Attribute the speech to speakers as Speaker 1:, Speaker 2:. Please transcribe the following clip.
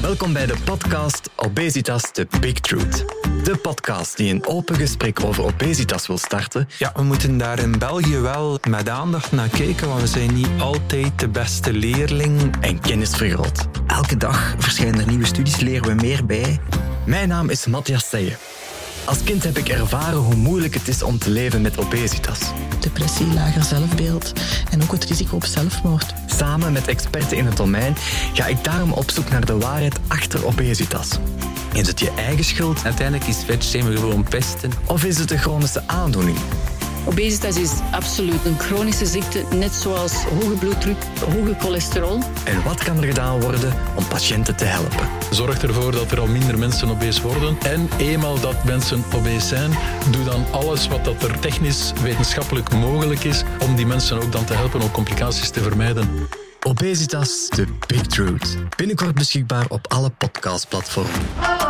Speaker 1: Welkom bij de podcast Obesitas The Big Truth. De podcast die een open gesprek over obesitas wil starten.
Speaker 2: Ja, we moeten daar in België wel met aandacht naar kijken, want we zijn niet altijd de beste leerling.
Speaker 1: En kennis vergroot.
Speaker 3: Elke dag verschijnen er nieuwe studies, leren we meer bij.
Speaker 1: Mijn naam is Matthias Seijen. Als kind heb ik ervaren hoe moeilijk het is om te leven met obesitas.
Speaker 4: Depressie, lager zelfbeeld en ook het risico op zelfmoord.
Speaker 1: Samen met experten in het domein ga ik daarom op zoek naar de waarheid achter obesitas. Is het je eigen schuld
Speaker 5: Uiteindelijk is vetshaming gewoon pesten.
Speaker 1: of is het een chronische aandoening?
Speaker 6: Obesitas is absoluut een chronische ziekte, net zoals hoge bloeddruk, hoge cholesterol.
Speaker 1: En wat kan er gedaan worden om patiënten te helpen?
Speaker 7: Zorg ervoor dat er al minder mensen obees worden. En eenmaal dat mensen obees zijn, doe dan alles wat dat er technisch, wetenschappelijk mogelijk is om die mensen ook dan te helpen om complicaties te vermijden.
Speaker 1: Obesitas, The Big Truth. Binnenkort beschikbaar op alle podcastplatformen.